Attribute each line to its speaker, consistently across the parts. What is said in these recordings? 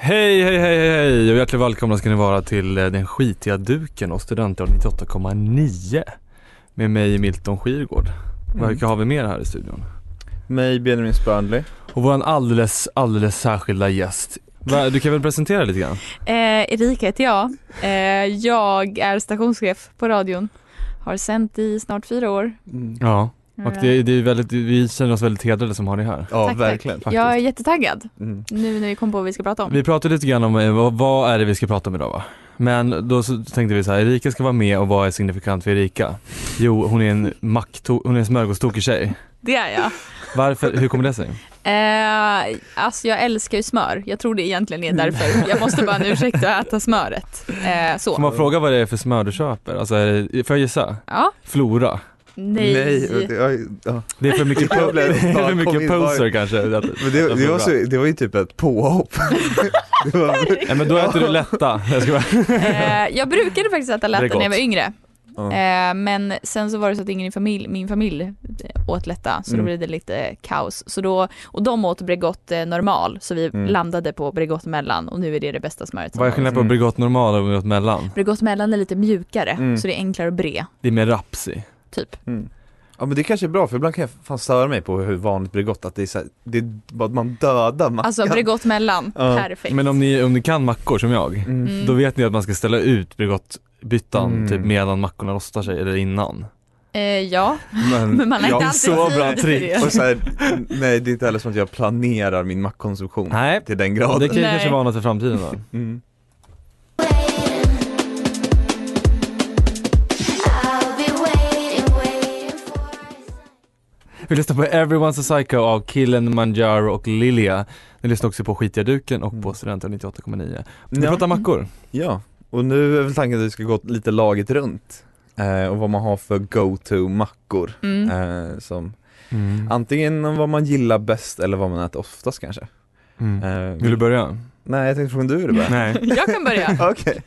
Speaker 1: Hej, hej, hej, hej, hej och hjärtligt välkomna ska ni vara till eh, Den skitiga duken och Studentradion 98,9 med mig Milton Skirgård. Vilka har vi mer här i studion?
Speaker 2: Mig Benjamin Spörnli.
Speaker 1: Och vår alldeles, alldeles särskilda gäst. Va- Du kan väl presentera lite grann?
Speaker 3: Eh, Erika heter jag. Eh, jag är stationschef på radion. Har sänt i snart fyra år.
Speaker 2: Mm.
Speaker 3: Eh,
Speaker 1: Ja. Och det, det är väldigt, vi känner oss väldigt hedrade som har dig här.
Speaker 2: Ja,
Speaker 3: Tack, tack.
Speaker 2: verkligen.
Speaker 1: Faktiskt.
Speaker 3: Jag är jättetaggad
Speaker 2: Mm.
Speaker 3: nu när vi kom på vad vi ska prata om.
Speaker 1: Vi pratade lite grann om eh, vad, vad är det vi ska prata om idag va? Men då så tänkte vi så här, Erika ska vara med och vad är signifikant för Erika? Jo, hon är en mackto- hon är en smörgåstokig tjej.
Speaker 3: Det är jag.
Speaker 1: Varför, hur kommer det sig?
Speaker 3: Eh, alltså jag älskar ju smör. Jag tror det egentligen
Speaker 1: Mm.
Speaker 3: är därför. Jag måste bara en ursäkt att äta smöret. Eh,
Speaker 1: Får
Speaker 3: så.
Speaker 1: man fråga vad det är för smör du köper? Alltså, är det, får jag gissa?
Speaker 3: Ja.
Speaker 1: Flora?
Speaker 3: Nej.
Speaker 2: det, ja, ja.
Speaker 1: Det är för mycket, po-
Speaker 2: Jag
Speaker 1: det
Speaker 2: blev-
Speaker 1: är för
Speaker 2: kom
Speaker 1: mycket
Speaker 2: in bara-
Speaker 1: poser kanske? Att-
Speaker 2: Men det, det, var så, det var ju typ ett påhopp. det var,
Speaker 1: Nej men då äter du lätta. Jag ska bara...
Speaker 3: Eh, jag brukade faktiskt äta
Speaker 1: Det är
Speaker 3: lätta när jag
Speaker 1: gott.
Speaker 3: var yngre.
Speaker 2: Ja.
Speaker 3: Eh, men sen så var det så att ingen i familj, min familj åt lätta så
Speaker 2: Mm.
Speaker 3: då blev det lite kaos. Så då, och de åt Bregott eh, normal så vi
Speaker 2: Mm.
Speaker 3: landade på Bregott mellan och nu är det det bästa smöret som
Speaker 1: Vad är
Speaker 3: finns.
Speaker 1: skillnaden på Bregott normal och Bregott mellan?
Speaker 3: Bregott mellan är lite mjukare
Speaker 2: Mm.
Speaker 3: så det är enklare att bre
Speaker 1: Det är mer raps i.
Speaker 3: typ.
Speaker 2: mm. Ja men det kanske är bra för ibland kan jag fan störa mig på hur vanligt Bregott att det är så här, det är bara att man dödar mackan.
Speaker 3: Alltså Bregott mellan,
Speaker 2: Ja.
Speaker 3: perfekt.
Speaker 1: Ah, Men om ni, om ni kan mackor som jag,
Speaker 2: Mm.
Speaker 3: Mm.
Speaker 1: då vet ni att man ska ställa ut Bregottbyttan
Speaker 2: Mm.
Speaker 1: typ medan mackorna rostar sig eller innan.
Speaker 3: eh, ja,
Speaker 2: Men,
Speaker 3: men man har
Speaker 2: Ja,
Speaker 3: inte alltid
Speaker 1: så
Speaker 3: tid
Speaker 1: bra
Speaker 3: till
Speaker 1: trick.
Speaker 3: det.
Speaker 2: och så här, nej det är inte heller som att jag planerar min mackkonsumtion
Speaker 1: Nej,
Speaker 2: till den graden.
Speaker 1: det kan ju
Speaker 3: Nej.
Speaker 1: kanske vara något för framtiden då.
Speaker 2: Mm.
Speaker 1: Vi lyssnar på Everyone's a Psycho av Killen Manjaro och Lilia. Ni lyssnar också på Skitiga Duken och på Studenten 98,9. Ni
Speaker 2: Ja.
Speaker 1: pratar mackor.
Speaker 2: Ja, och nu är väl tanken att vi ska gå lite laget runt eh, och vad man har för go-to-mackor
Speaker 3: Mm.
Speaker 2: eh, som antingen vad man gillar bäst eller vad man äter oftast kanske.
Speaker 1: Mm.
Speaker 2: Eh,
Speaker 1: Vill du börja?
Speaker 2: Nej jag tänkte fråga om du ville börja.
Speaker 1: Nej.
Speaker 3: Jag kan börja.
Speaker 2: Okej.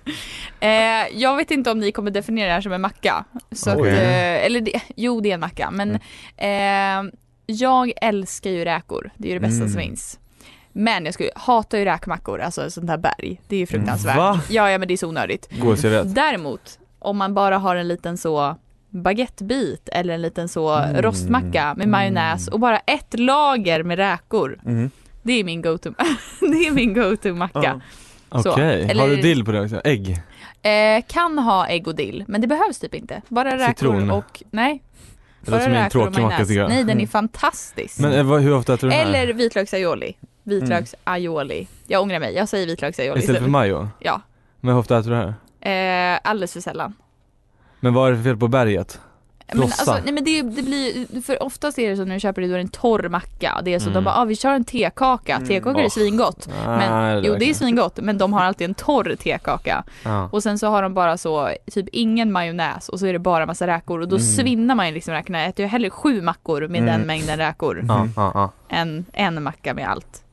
Speaker 3: Eh, jag vet inte om ni kommer definiera det här som en macka. Så att,
Speaker 1: Oj.
Speaker 3: eh, eller det, jo, det är en macka. Men eh, jag älskar ju räkor. Det är ju det bästa
Speaker 2: Mm.
Speaker 3: som finns. Men jag skulle, hatar ju räkmackor, alltså sånt här berg. Det är ju fruktansvärt.
Speaker 1: Va?
Speaker 3: Ja, ja, men det är så onödigt.
Speaker 1: Gåsjövet.
Speaker 3: Däremot, om man bara har en liten så baguettebit eller en liten så
Speaker 2: Mm.
Speaker 3: rostmacka med majonnäs och bara ett lager med räkor.
Speaker 2: Mm.
Speaker 3: Det är min go-to, det är min go-to-macka.
Speaker 2: Ja.
Speaker 3: Så.
Speaker 1: Okej, har du
Speaker 3: Eller-
Speaker 1: dill på det också? Ägg?
Speaker 3: Eh, kan ha ägg och dill, men det behövs typ inte. Bara räkor
Speaker 1: Citron.
Speaker 3: och... Nej.
Speaker 1: Det låter som en tråkig macka tycker jag.
Speaker 3: Nej, den är fantastisk.
Speaker 1: Men eh, vad- hur ofta äter du den här?
Speaker 3: Eller vitlöksaioli. Vitlöksaioli. Jag ångrar mig, jag säger vitlöksaioli
Speaker 1: Istället för
Speaker 3: istället.
Speaker 1: majo?
Speaker 3: Ja.
Speaker 1: Men hur ofta äter du det här?
Speaker 3: Eh, alldeles för sällan.
Speaker 1: Men vad är det för fel på berget?
Speaker 3: Men,
Speaker 1: Frossa.
Speaker 3: alltså, nej, men det, det blir, för oftast är det så när du köper det, då är det en torr macka. Det är så
Speaker 1: Mm.
Speaker 3: de bara, ah, vi kör en tekaka.
Speaker 2: Mm.
Speaker 3: Tekakor är
Speaker 1: Åh.
Speaker 3: svingott. Men,
Speaker 1: Nej,
Speaker 3: jo det är
Speaker 1: verkligen.
Speaker 3: svingott, men de har alltid en torr tekaka.
Speaker 1: Ja.
Speaker 3: Och sen så har de bara så, typ ingen majonnäs och så är det bara massa räkor och då
Speaker 2: Mm.
Speaker 3: svinnar man ju liksom räkorna. Jag äter ju hellre sju mackor med
Speaker 2: Mm.
Speaker 3: den mängden räkor
Speaker 1: Ja, ja, ja.
Speaker 3: än en macka med allt.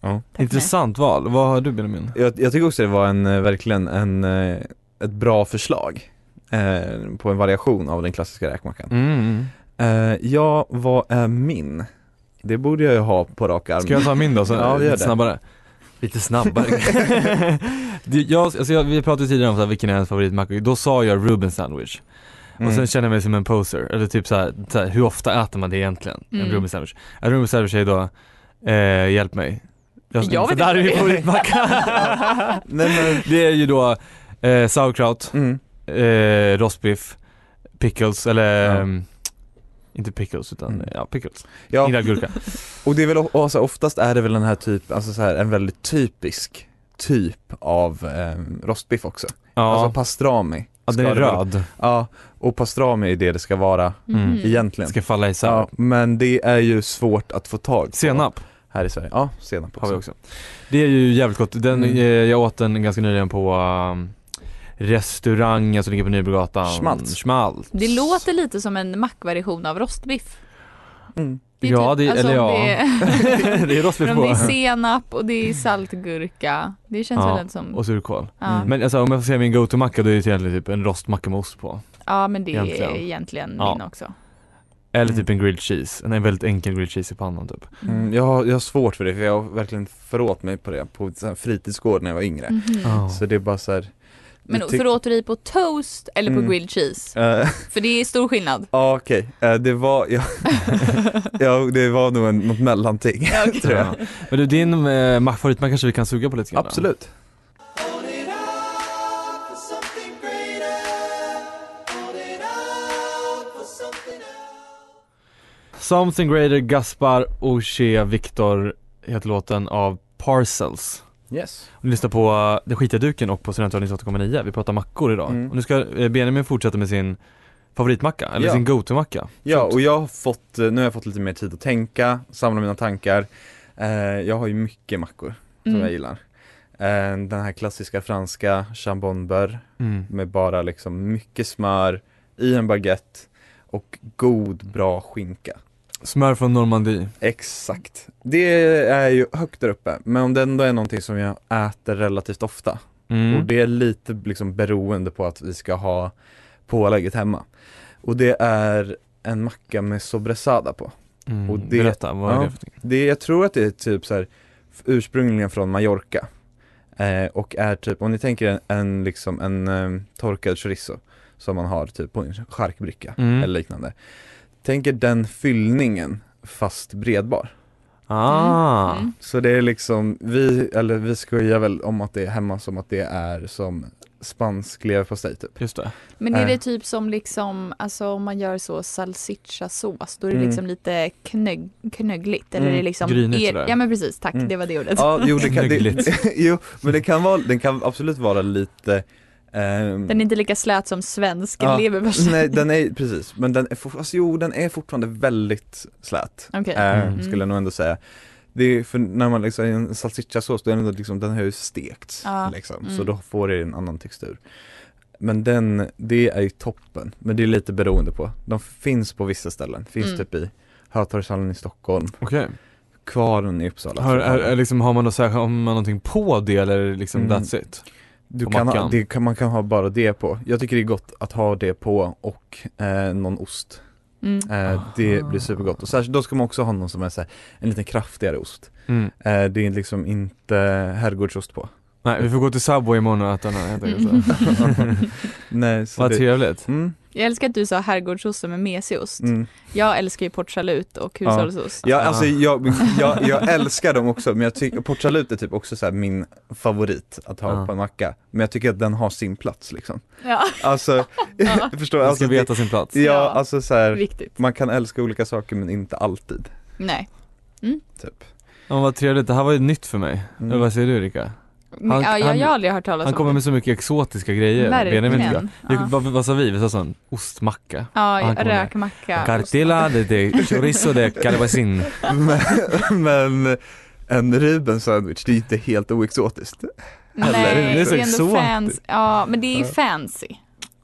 Speaker 2: Ja.
Speaker 3: Tack för mig.
Speaker 1: Intressant val. Vad har du Benjamin?
Speaker 2: Jag, jag tycker också det var en, eh, verkligen en, eh, ett bra förslag eh, på en variation av den klassiska räkmackan.
Speaker 1: Mm.
Speaker 2: Eh, ja, vad är min? Det borde jag ju ha på rak arm.
Speaker 1: Ska jag ta min då? Så
Speaker 2: Ja, gör
Speaker 1: lite
Speaker 2: det.
Speaker 1: snabbare. Lite snabbare. Det- jag, alltså jag, vi pratade tidigare om så här, vilken är ens favoritmacka. Då sa jag Ruben sandwich.
Speaker 2: Mm.
Speaker 1: Och sen känner jag mig som en poser. Eller typ så här, så här hur ofta äter man det egentligen?
Speaker 3: Mm.
Speaker 1: En Ruben sandwich. En Ruben sandwich är då, eh, hjälp mig.
Speaker 3: Jag
Speaker 1: för
Speaker 3: vet
Speaker 1: där är
Speaker 3: inte.
Speaker 1: min favoritmacka.
Speaker 2: Nej,
Speaker 1: det är ju då eh, sauerkraut,
Speaker 2: men, mm.
Speaker 1: eh, rostbiff, pickles eller
Speaker 2: Ja.
Speaker 1: ehm, inte pickles utan
Speaker 2: Mm.
Speaker 1: ja, pickles.
Speaker 2: Ja,
Speaker 1: Ingen gurka.
Speaker 2: Och det är väl, och så oftast är det väl den här typ, alltså så här, en väldigt typisk typ av eh, rostbiff också.
Speaker 1: Ja,
Speaker 2: Alltså pastrami.
Speaker 1: ja den är
Speaker 2: ska det vara.
Speaker 1: röd.
Speaker 2: Ja, och pastrami är det det ska vara
Speaker 1: Mm.
Speaker 2: egentligen.
Speaker 1: Ska falla isär.
Speaker 2: Ja, men det är ju svårt att få tag på
Speaker 1: Senap
Speaker 2: här i Sverige. Ja, senap också.
Speaker 1: Typ, har vi också. Det är ju jävligt gott. Den,
Speaker 2: Mm.
Speaker 1: eh, jag åt den ganska nyligen på um, restaurangen som ligger på Nybrogatan.
Speaker 2: Schmaltz.
Speaker 1: Schmaltz.
Speaker 3: Det låter lite som en mackversion av rostbiff.
Speaker 2: Mm.
Speaker 3: Det är
Speaker 1: Ja,
Speaker 3: typ-
Speaker 1: det- eller ja.
Speaker 3: Det är,
Speaker 1: det är rostbiff
Speaker 3: men det är
Speaker 1: på.
Speaker 3: senap och det är saltgurka. Det känns
Speaker 1: Ja,
Speaker 3: väl inte som...
Speaker 1: Och surkål.
Speaker 3: ja.
Speaker 2: Mm.
Speaker 1: Men alltså om jag får säga min go-to-macka då är det egentligen typ en rostmacka med ost på.
Speaker 3: ja, men det är
Speaker 1: Egentligen.
Speaker 3: egentligen, egentligen
Speaker 1: Ja.
Speaker 3: min också.
Speaker 1: Eller typ en grilled cheese. En väldigt enkel grilled cheese i pannan typ.
Speaker 2: Mm, jag, har, jag har svårt för det, för jag har verkligen förrått mig på det på så här fritidsgård när jag var yngre.
Speaker 1: Mm.
Speaker 3: Mhm.
Speaker 2: Så det är bara så här,
Speaker 3: Men
Speaker 2: jag tyck-
Speaker 3: förråt du dig på toast eller på
Speaker 2: Mm.
Speaker 3: grilled cheese?
Speaker 2: eh,
Speaker 3: För det är stor skillnad.
Speaker 2: Ja okej, Eh, det var, ja, ja, det var nog en, något mellanting tror jag.
Speaker 1: Ja. eh, Men du, din eh, ma- favoritmacka kanske vi kan suga på lite grann?
Speaker 2: Absolut.
Speaker 1: Something Greater, Gaspar, Oshé, Viktor heter låten av Parcels.
Speaker 2: Yes.
Speaker 1: Ni lyssnar på eh, Den skitiga duken och på Studentradion 98,9. Vi pratar mackor idag.
Speaker 2: Mm.
Speaker 1: Och nu ska eh, Benjamin fortsätta med sin favoritmacka, eller
Speaker 2: Ja.
Speaker 1: sin go-to-macka.
Speaker 2: Ja, och jag har fått, eh, nu har jag fått lite mer tid att tänka, samla mina tankar. Eh, jag har ju mycket mackor som
Speaker 3: Mm.
Speaker 2: jag gillar. Eh, den här klassiska franska chambon beurre
Speaker 1: Mm.
Speaker 2: med bara liksom mycket smör i en baguette och god bra skinka.
Speaker 1: Smör från Normandie.
Speaker 2: Exakt. Det är ju högt där uppe, men om det ändå är någonting som jag äter relativt ofta
Speaker 1: Mm.
Speaker 2: Och det är lite liksom beroende på att vi ska ha pålägget hemma. Och det är en macka med sobresada på.
Speaker 1: Mm.
Speaker 2: och det-
Speaker 1: Berätta, vad är
Speaker 2: ja.
Speaker 1: det för ting?
Speaker 2: Det, jag tror att det är typ så här f- ursprungligen från Mallorca. Eh, och är typ, om ni tänker en, en liksom en eh, torkad chorizo som man har typ på en charkbricka
Speaker 1: Mm.
Speaker 2: eller liknande. Tänk er den fyllningen fast bredbar.
Speaker 1: Ah,
Speaker 3: Mm.
Speaker 2: Så det är liksom, vi, eller vi skojar väl om att det är hemma som att det är som spansk leverpastej typ.
Speaker 1: just det.
Speaker 3: Men är
Speaker 2: Nej.
Speaker 3: det typ som liksom, alltså om man gör så salsichasås, då är det
Speaker 2: Mm.
Speaker 3: liksom lite knögg, knöggligt? Eller
Speaker 2: Mm,
Speaker 3: är det liksom...
Speaker 1: grynigt
Speaker 3: är,
Speaker 1: sådär.
Speaker 3: Ja men precis, tack,
Speaker 2: Mm.
Speaker 3: det var det ordet.
Speaker 2: Ja, jo, det kan,
Speaker 1: Mögligt.
Speaker 2: det, jo men det kan vara, den kan absolut vara lite ehm,
Speaker 3: Den är inte lika slät som svensk
Speaker 2: Ja.
Speaker 3: leverpastej.
Speaker 2: Nej den är, precis, men den är, for- alltså, jo den är fortfarande väldigt slät,
Speaker 3: Okej.
Speaker 2: eh,
Speaker 1: Mm.
Speaker 2: skulle jag nog ändå säga det är för när man liksom, i en salsichasås, då är den ändå liksom, den har ju stekts
Speaker 3: Ja,
Speaker 2: liksom, så
Speaker 3: mm.
Speaker 2: då får det en annan textur Men den, det är ju toppen, men det är lite beroende på, de finns på vissa ställen, finns
Speaker 3: Mm.
Speaker 2: typ i Hötorgshallen i Stockholm,
Speaker 1: Okej.
Speaker 2: Kvarn i Uppsala
Speaker 1: Har, är,
Speaker 2: Södermalm.
Speaker 1: är, liksom, har man, då, så här, har man någonting på det eller är det liksom
Speaker 2: Mm.
Speaker 1: that's it?
Speaker 2: Du
Speaker 1: på
Speaker 2: kan ha,
Speaker 1: mackan.
Speaker 2: det kan, man kan ha bara det på. Jag tycker det är gott att ha det på och eh, någon ost.
Speaker 3: Mm.
Speaker 2: Eh,
Speaker 1: Ah.
Speaker 2: det blir supergott. Och särskilt, då ska man också ha någon som är så här, en lite kraftigare ost.
Speaker 1: Mm.
Speaker 2: Eh, det är liksom inte herrgårdsost på.
Speaker 1: Nej, vi får gå till Subway imorgon och äta den här helt enkelt.
Speaker 3: Mm.
Speaker 2: Nej, så
Speaker 1: Vad typ?
Speaker 2: det,
Speaker 1: trevligt.
Speaker 2: mm,
Speaker 3: Jag älskar att du sa herrgårdsost som är mesiost.
Speaker 2: mm. Jag,
Speaker 3: Jag älskar ju portsalut och hushållsost.
Speaker 1: Ah.
Speaker 2: Ja, alltså jag, jag, jag älskar dem också, men jag tycker, port salut är typ också så här min favorit att ha
Speaker 1: Ja.
Speaker 2: på en macka. Men jag tycker att den har sin plats liksom.
Speaker 3: Ja.
Speaker 2: Alltså,
Speaker 3: Ja.
Speaker 2: förstår du?
Speaker 1: Man ska
Speaker 2: Alltså,
Speaker 1: veta sin plats.
Speaker 2: det, ja,
Speaker 3: Ja.
Speaker 2: alltså så här,
Speaker 3: Viktigt.
Speaker 2: man kan älska olika saker men inte alltid.
Speaker 3: Nej.
Speaker 2: Typ.
Speaker 1: Ja, vad trevligt, det här var ju nytt för mig.
Speaker 2: Mm.
Speaker 1: Eller vad säger du Rika? Han-
Speaker 3: ja, jag, jag
Speaker 1: han-
Speaker 3: har aldrig hört talas
Speaker 1: Han
Speaker 3: om
Speaker 1: kommer
Speaker 3: det.
Speaker 1: med så mycket exotiska grejer. Benjamin tycker jag.
Speaker 3: Alltså- Verkligen.
Speaker 1: Vi,
Speaker 3: Ja,
Speaker 1: vad, vad sa vi? Vi sa sån ostmacka.
Speaker 3: ja
Speaker 1: han kommer med-
Speaker 3: räkmacka.
Speaker 1: Cartilla, det är chorizo, det är calabacin.
Speaker 2: Men, men en Ruben sandwich, det är inte helt oexotiskt.
Speaker 3: Nej,
Speaker 2: Eller?
Speaker 3: det är så
Speaker 1: exotiskt.
Speaker 3: ändå fancy. Ja, men det är ju
Speaker 2: Ja.
Speaker 3: fancy.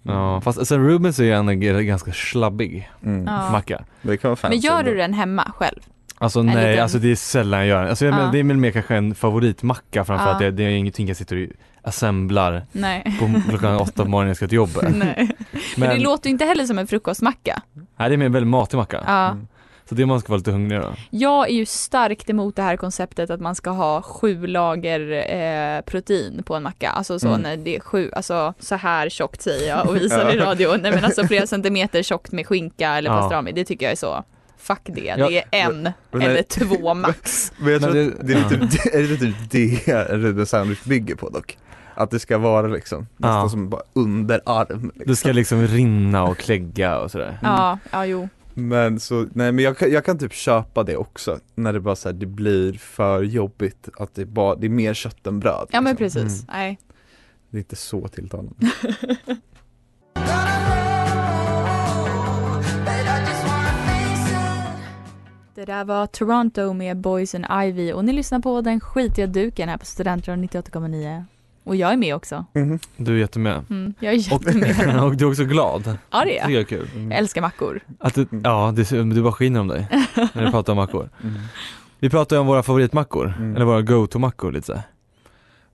Speaker 1: Ja, fast alltså, Rubens är ju en g- ganska slabbig
Speaker 2: Mm.
Speaker 3: Ja.
Speaker 1: macka.
Speaker 2: Det kan vara fancy
Speaker 3: Men gör du
Speaker 2: ändå.
Speaker 3: den hemma själv?
Speaker 1: Alltså
Speaker 3: En
Speaker 1: nej,
Speaker 3: liten-
Speaker 1: alltså det är sällan jag gör alltså, jag
Speaker 3: Ja.
Speaker 1: men, Det är väl mer kanske en favoritmacka framför
Speaker 3: Ja.
Speaker 1: att det, det är ingenting jag sitter och assemblar
Speaker 3: Nej.
Speaker 1: på klockan åtta på morgonen när jag ska till jobbet. Men,
Speaker 3: Nej. Men det låter ju inte heller som en frukostmacka.
Speaker 1: nej, det är mer en väldigt matig macka.
Speaker 3: Ja.
Speaker 2: Mm.
Speaker 1: Så det man ska vara lite hungrig då.
Speaker 3: Jag är ju starkt emot det här konceptet att man ska ha sju lager eh, protein på en macka. Alltså så
Speaker 2: Mm.
Speaker 3: när det är sju, alltså så här tjockt säger jag och visar i
Speaker 2: Ja.
Speaker 3: radion. Nej men alltså flera centimeter tjockt med skinka eller
Speaker 1: Ja.
Speaker 3: pastrami, det tycker jag är så. Fuck det,
Speaker 1: Ja,
Speaker 3: det är en
Speaker 2: men- Mm.
Speaker 3: eller två max.
Speaker 2: Men jag
Speaker 1: Men
Speaker 2: tror
Speaker 1: det-
Speaker 2: att det är lite det, är lite det en Reuben sandwich bygger på dock. Att det ska vara liksom, nästan
Speaker 1: Ja.
Speaker 2: som bara underarm. Liksom.
Speaker 1: Det ska liksom rinna och klägga och sådär.
Speaker 3: Mm. Ja, ja jo.
Speaker 2: Men så, nej men jag kan, jag kan typ köpa det också, när det bara så här, det blir för jobbigt att det bara, det är mer kött än bröd.
Speaker 3: Ja men
Speaker 2: liksom.
Speaker 3: precis. Nej.
Speaker 2: Det är inte så tilltalande.
Speaker 3: Det där var Toronto med Boys and Ivy och ni lyssnar på den skitiga duken här på Studentradion 98,9. Och jag är med också.
Speaker 2: Mhm.
Speaker 1: Du är jättemä.
Speaker 3: Mm, jag är
Speaker 1: Och,
Speaker 3: jättemed.
Speaker 1: och du är också glad.
Speaker 3: Ja det
Speaker 1: Det
Speaker 3: är jag.
Speaker 1: tycker jag är kul.
Speaker 2: Mm.
Speaker 3: Jag älskar mackor.
Speaker 1: Att du, ja, det, ser- du bara skiner om dig när du pratar om mackor.
Speaker 2: Mm.
Speaker 1: Vi pratar ju om våra favoritmackor,
Speaker 2: Mm.
Speaker 1: eller våra go-to-mackor lite så här.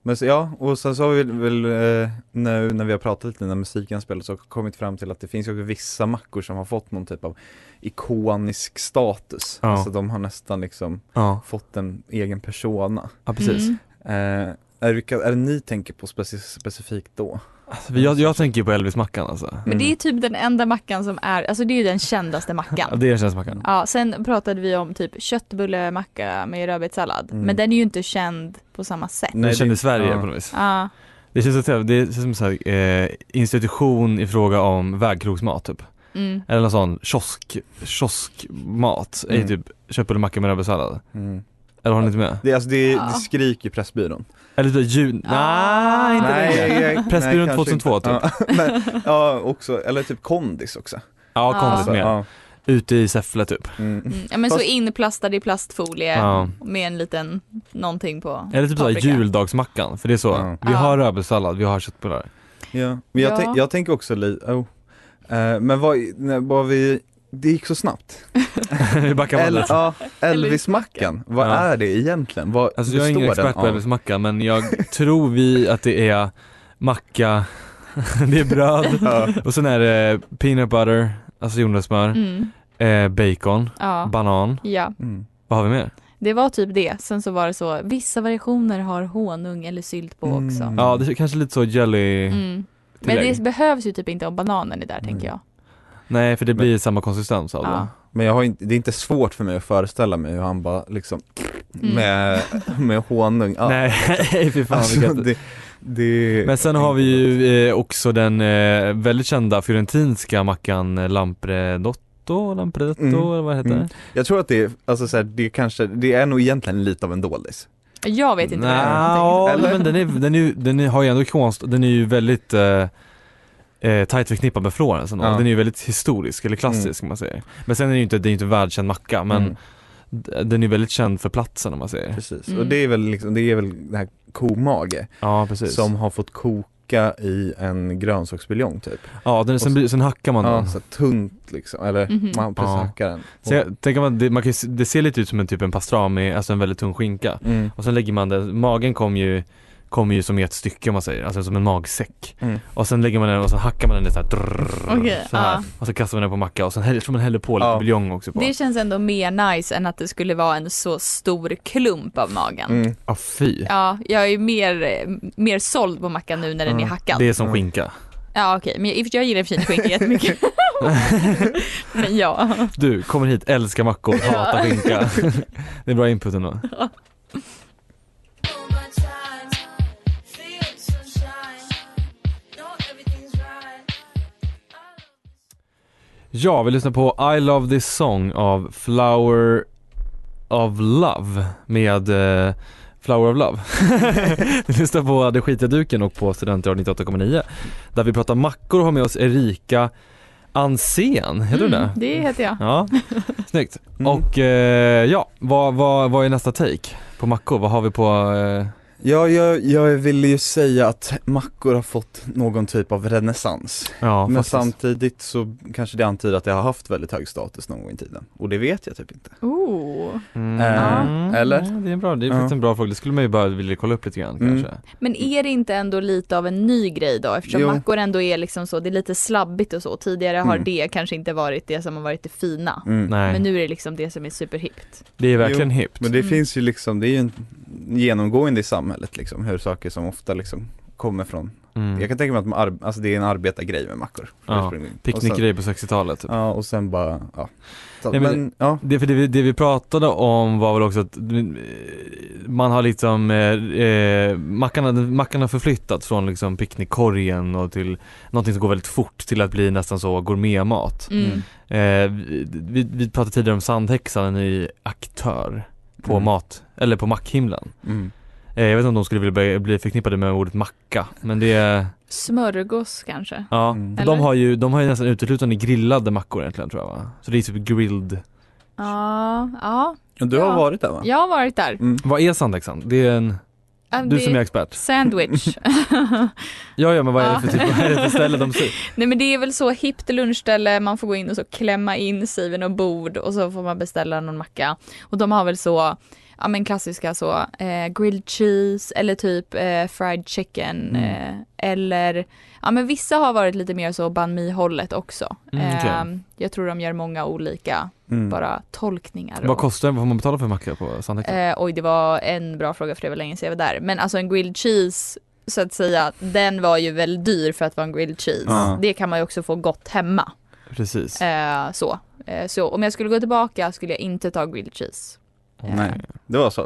Speaker 2: Men så, ja, och sen så har vi väl, väl eh, nu när vi har pratat lite när musiken har spelats och kommit fram till att det finns ju också vissa mackor som har fått någon typ av ikonisk status.
Speaker 1: Ja.
Speaker 2: Alltså de har nästan liksom
Speaker 1: Ja,
Speaker 2: fått en egen persona.
Speaker 1: ja precis.
Speaker 3: Mm.
Speaker 2: Eh, är, det, vilka- är det ni tänker på speci- specifikt då? Mm.
Speaker 1: Alltså, jag, jag tänker på Elvis-mackan alltså.
Speaker 3: Men det är typ den enda mackan som är, alltså det är ju den kändaste
Speaker 1: Ja,
Speaker 3: mackan.
Speaker 1: det känns mackan.
Speaker 3: Ja, sen pratade vi om typ köttbullemacka med rödbetssallad,
Speaker 2: Mm.
Speaker 3: men den är ju inte känd på samma sätt.
Speaker 1: Nej, det kändes Sverige
Speaker 2: ja.
Speaker 1: på något vis.
Speaker 3: Ja,
Speaker 1: Det känns, som- det känns som så här, eh, institution i fråga om vägkrogsmat typ.
Speaker 3: mm.
Speaker 1: Eller någon sån kiosk, kioskmat, är ju
Speaker 2: Mm.
Speaker 1: typ köttbullemacka med rödbetssallad.
Speaker 2: Mm.
Speaker 1: Eller har ni inte med?
Speaker 2: Det, alltså det,
Speaker 3: Ja.
Speaker 2: det skriker Pressbyrån.
Speaker 1: Eller typ jul...
Speaker 3: Ah.
Speaker 1: Nej, inte
Speaker 3: Nej,
Speaker 1: längre. Pressbyrån
Speaker 2: kanske
Speaker 1: 2002
Speaker 2: inte. Ja, men, ja, också, eller typ Kondis också.
Speaker 1: typ. Ja, kondis
Speaker 3: Ah.
Speaker 2: Alltså,
Speaker 1: med.
Speaker 2: ja,
Speaker 1: Ute i Säffle typ.
Speaker 2: mm.
Speaker 3: Mm. ja men så
Speaker 2: Fast-
Speaker 3: inplastad i plastfolie
Speaker 1: Ja.
Speaker 3: med en liten någonting på.
Speaker 1: Eller typ såhär
Speaker 3: Paprika.
Speaker 1: juldagsmackan, för det är så.
Speaker 2: Ja.
Speaker 1: Vi
Speaker 3: Ja.
Speaker 1: har rödbetssallad, vi har köttbullar.
Speaker 2: Ja, men jag,
Speaker 3: Ja.
Speaker 2: tänk- jag tänker också lite, oh. Eh, men vad, när, vad vi, det gick så snabbt.
Speaker 1: Vi backar
Speaker 2: El,
Speaker 1: bandet.
Speaker 2: ja, Elvis-mackan, vad
Speaker 1: Ja.
Speaker 2: är det egentligen? Vad
Speaker 1: Alltså jag är ingen
Speaker 2: består den
Speaker 1: expert på
Speaker 2: av?
Speaker 1: Elvis-macka men jag tror vi att det är macka, det är bröd
Speaker 2: Ja.
Speaker 1: och sen är det peanut butter, alltså jordnötssmör,
Speaker 3: Mm.
Speaker 1: eh, bacon,
Speaker 3: Ja.
Speaker 1: banan.
Speaker 3: ja,
Speaker 2: Mm.
Speaker 1: Vad har vi mer?
Speaker 3: det var typ det. Sen så var det så, vissa variationer har honung eller sylt på också.
Speaker 2: Mm.
Speaker 1: Ja, det är kanske lite så jelly
Speaker 3: Mm. Men
Speaker 1: tillägg. Mm.
Speaker 3: det behövs ju typ inte om bananen är där tänker jag.
Speaker 1: Nej för det blir samma konsistens av det.
Speaker 3: Ja.
Speaker 2: Men jag har inte, det är inte svårt för mig att föreställa mig hur han bara liksom
Speaker 3: Mm.
Speaker 2: med, med honung, ja.
Speaker 1: Nej, fy fan
Speaker 2: alltså,
Speaker 1: vilket...
Speaker 2: det, det
Speaker 1: Men sen har vi ju eh, också den eh, väldigt kända fiorentinska mackan eh, Lampredotto, Lampredotto
Speaker 2: Mm.
Speaker 1: eller vad heter
Speaker 2: Mm.
Speaker 1: det?
Speaker 2: Jag tror att det är, alltså så här, det kanske, det är nog egentligen lite av en dålis
Speaker 3: Jag vet inte vad det är.
Speaker 2: Nja,
Speaker 1: Nja,
Speaker 2: Eller?
Speaker 1: men den, är, den, är, ju- den är, har ju ändå konst, den är ju väldigt eh, eh, tajt förknippad med Florens ändå.
Speaker 2: Ja.
Speaker 1: Den är ju väldigt historisk eller klassisk om man säger. Men sen är det ju inte, det är ju inte en världskänd macka men
Speaker 2: Mm,
Speaker 1: d- den är ju väldigt känd för platsen om man säger.
Speaker 2: Precis,
Speaker 3: Mm.
Speaker 2: och det är väl liksom, det är väl det här komage
Speaker 1: Ja precis.
Speaker 2: som har fått koka i en grönsaksbuljong typ
Speaker 1: ja, den, sen,
Speaker 2: och-
Speaker 1: blir- sen hackar man
Speaker 2: Ja,
Speaker 1: den.
Speaker 2: så här tunt liksom, eller
Speaker 3: Mhm.
Speaker 2: man precis
Speaker 1: Ja.
Speaker 2: hackar den
Speaker 1: Så jag tänker man, det, man kan ju, se- det ser lite ut som en typ en pastrami, alltså en väldigt tunn skinka.
Speaker 2: mm.
Speaker 1: Och sen lägger man den, magen kommer ju Kommer ju som i ett stycke om man säger, alltså som en magsäck.
Speaker 2: Mm.
Speaker 1: Och sen lägger man den och så hackar man den lite såhär drrrr,
Speaker 3: Okej,
Speaker 1: så här.
Speaker 3: ja.
Speaker 1: Och så kastar man den på macka och sen häller, så man häller på lite
Speaker 2: Ja.
Speaker 1: buljong också på.
Speaker 3: Det känns ändå mer nice än att det skulle vara en så stor klump av magen.
Speaker 2: Mm.
Speaker 1: Ja fy.
Speaker 3: Ja, jag är mer, eh, mer såld på mackan nu när den är
Speaker 2: Mm,
Speaker 3: hackad.
Speaker 1: Det är som
Speaker 2: Ja.
Speaker 1: skinka.
Speaker 3: Ja okej, men jag, i och för sig, jag gillar i och för sig inte skinka jättemycket. men ja.
Speaker 1: Du, kommer hit, älskar mackor, hatar skinka. det är bra input ändå. Ja, vi lyssnar på I Love This Song av Flower of Love med eh, Flower of Love. vi lyssnar på Det skitiga duken och på Studentradion 98,9 där vi pratar mackor och har med oss Erika Ansén, heter du det?
Speaker 3: Mm, det heter jag.
Speaker 1: Ja, snyggt.
Speaker 2: Mm.
Speaker 1: Och eh, ja, vad, vad, vad är nästa take på mackor? Vad har vi på eh,
Speaker 2: Ja, jag, jag ville ju säga att mackor har fått någon typ av renässans.
Speaker 1: Ja,
Speaker 2: Men
Speaker 1: faktiskt.
Speaker 2: samtidigt så kanske det antyder att det har haft väldigt hög status någon gång i tiden. Och det vet jag typ inte.
Speaker 3: Oh.
Speaker 1: Mm.
Speaker 2: Eh,
Speaker 1: Ja,
Speaker 2: eller?
Speaker 1: det är, en bra, det är
Speaker 2: Ja.
Speaker 1: faktiskt en bra fråga, det skulle man ju bara vilja kolla upp lite grann
Speaker 2: Mm.
Speaker 1: kanske.
Speaker 3: Men är det inte ändå lite av en ny grej då eftersom
Speaker 2: Jo.
Speaker 3: mackor ändå är liksom så, det är lite slabbigt och så. Tidigare har
Speaker 2: Mm.
Speaker 3: det kanske inte varit det som har varit det fina.
Speaker 2: Mm.
Speaker 1: Nej,
Speaker 3: Men nu är det liksom det som är superhippt.
Speaker 1: det är verkligen hippt.
Speaker 2: Men det
Speaker 3: Mm.
Speaker 2: finns ju liksom, det är ju en genomgående i samhället liksom, hur saker som ofta liksom kommer från.
Speaker 1: Mm.
Speaker 2: Jag kan tänka mig att man ar- alltså det är en arbetargrej med mackor.
Speaker 1: Ja,
Speaker 2: ursprungligen. Och sen,
Speaker 1: Picknickgrej på 60-talet. Typ.
Speaker 2: ja, och sen bara, ja. Så,
Speaker 1: Nej, men-
Speaker 2: men, ja.
Speaker 1: Det, för det, vi- det vi pratade om var väl också att eh, man har liksom, eh, eh, mackan, har- mackan har förflyttats från liksom picknickkorgen och till någonting som går väldigt fort till att bli nästan så gourmetmat.
Speaker 3: Mm.
Speaker 2: Mm.
Speaker 1: Eh, vi, vi, vi pratade tidigare om Sandhäxan i aktör på
Speaker 2: Mm.
Speaker 1: mat, eller på mackhimlen.
Speaker 2: Mm.
Speaker 1: Eh, jag vet inte om de skulle vilja bli, bli förknippade med ordet macka, men det,
Speaker 3: Smörgås kanske.
Speaker 1: ja.
Speaker 2: Mm.
Speaker 1: För
Speaker 3: Eller?
Speaker 1: De har ju, de har ju nästan uteslutande grillade mackor egentligen tror jag va? Så det är typ grilled.
Speaker 3: Ja, ja.
Speaker 2: Och Du har
Speaker 3: Ja.
Speaker 2: varit där va?
Speaker 3: Jag har varit där.
Speaker 2: Mm.
Speaker 1: Vad är Sandhäxan? Det är en,
Speaker 3: Ähm,
Speaker 1: du
Speaker 3: det-
Speaker 1: som är expert.
Speaker 3: Sandwich.
Speaker 1: Ja, ja men vad är det för
Speaker 3: Ja.
Speaker 1: typ, vad är det för ställe de ser?
Speaker 3: Nej men det är väl så hippt lunchställe, man får gå in och så klämma in sig vid något bord och så får man beställa någon macka. Och de har väl så, ja men klassiska så, eh, grilled cheese eller typ eh, fried
Speaker 1: Mm.
Speaker 3: chicken. Eh, eller, ja men vissa har varit lite mer så banh mi hållet också.
Speaker 1: Mm, okej.
Speaker 3: eh, jag tror de gör många olika,
Speaker 2: Mm.
Speaker 3: bara tolkningar.
Speaker 1: Vad
Speaker 3: och-
Speaker 1: kostar vad får man betala för en macka på Sandhäcken?
Speaker 3: Eh, oj, det var en bra fråga för det var länge sedan jag var där. Men alltså en grilled cheese, så att säga, den var ju väl dyr för att vara en grilled cheese.
Speaker 2: Ja.
Speaker 3: Det kan man ju också få gott hemma.
Speaker 1: Precis.
Speaker 3: Eh, så. Eh, så om jag skulle gå tillbaka skulle jag inte ta grilled cheese. Eh,
Speaker 2: Nej, det var så.